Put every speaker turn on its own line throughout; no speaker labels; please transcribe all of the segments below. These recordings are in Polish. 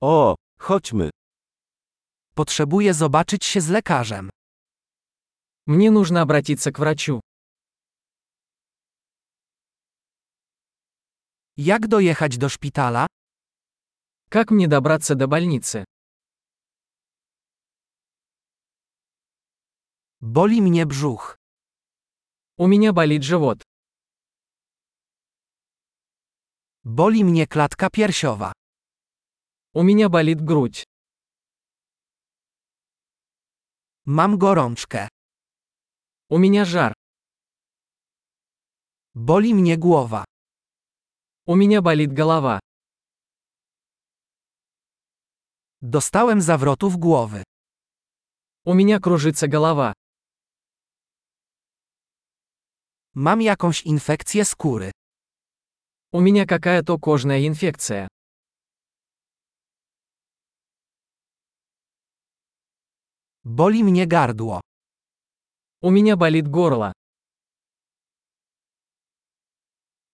O, chodźmy.
Potrzebuję zobaczyć się z lekarzem.
Мне нужно обратиться к врачу.
Jak dojechać do szpitala?
Как мне добраться до больницы?
Boli mnie brzuch.
У меня болит живот.
Boli mnie klatka piersiowa.
У меня болит грудь.
Mam gorączkę.
У меня жар.
Boli mnie głowa.
У меня болит голова.
Dostałem zawrotów głowy.
У меня кружится голова.
Mam jakąś infekcję skóry.
У меня какая-то кожная инфекция.
Boli mnie gardło.
У меня болит горло.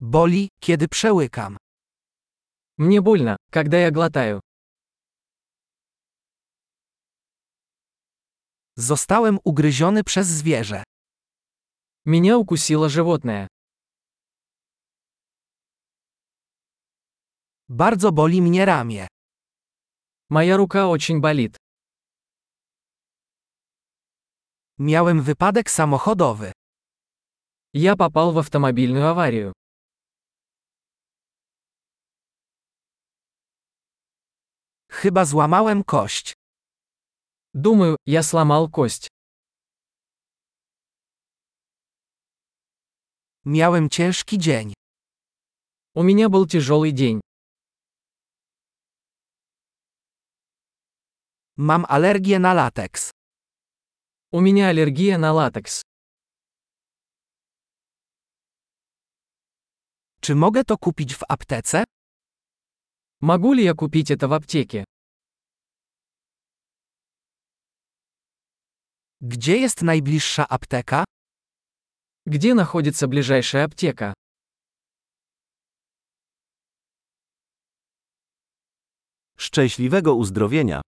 Boli, kiedy przełykam.
Мне больно, когда я глотаю.
Zostałem ugryziony przez zwierzę.
Меня укусило животное.
Bardzo boli mnie ramię.
Моя рука очень болит.
Miałem wypadek samochodowy.
Я попал в автомобильную аварию.
Chyba złamałem kość.
Думаю, я сломал кость.
Miałem ciężki dzień.
У меня был тяжелый день.
Mam alergię na lateks.
У меня аллергия на латекс.
Czy mogę to kupić w aptece?
Могу ли я купить это в аптеке?
Gdzie jest najbliższa apteka?
Где находится ближайшая аптека?
Szczęśliwego uzdrowienia.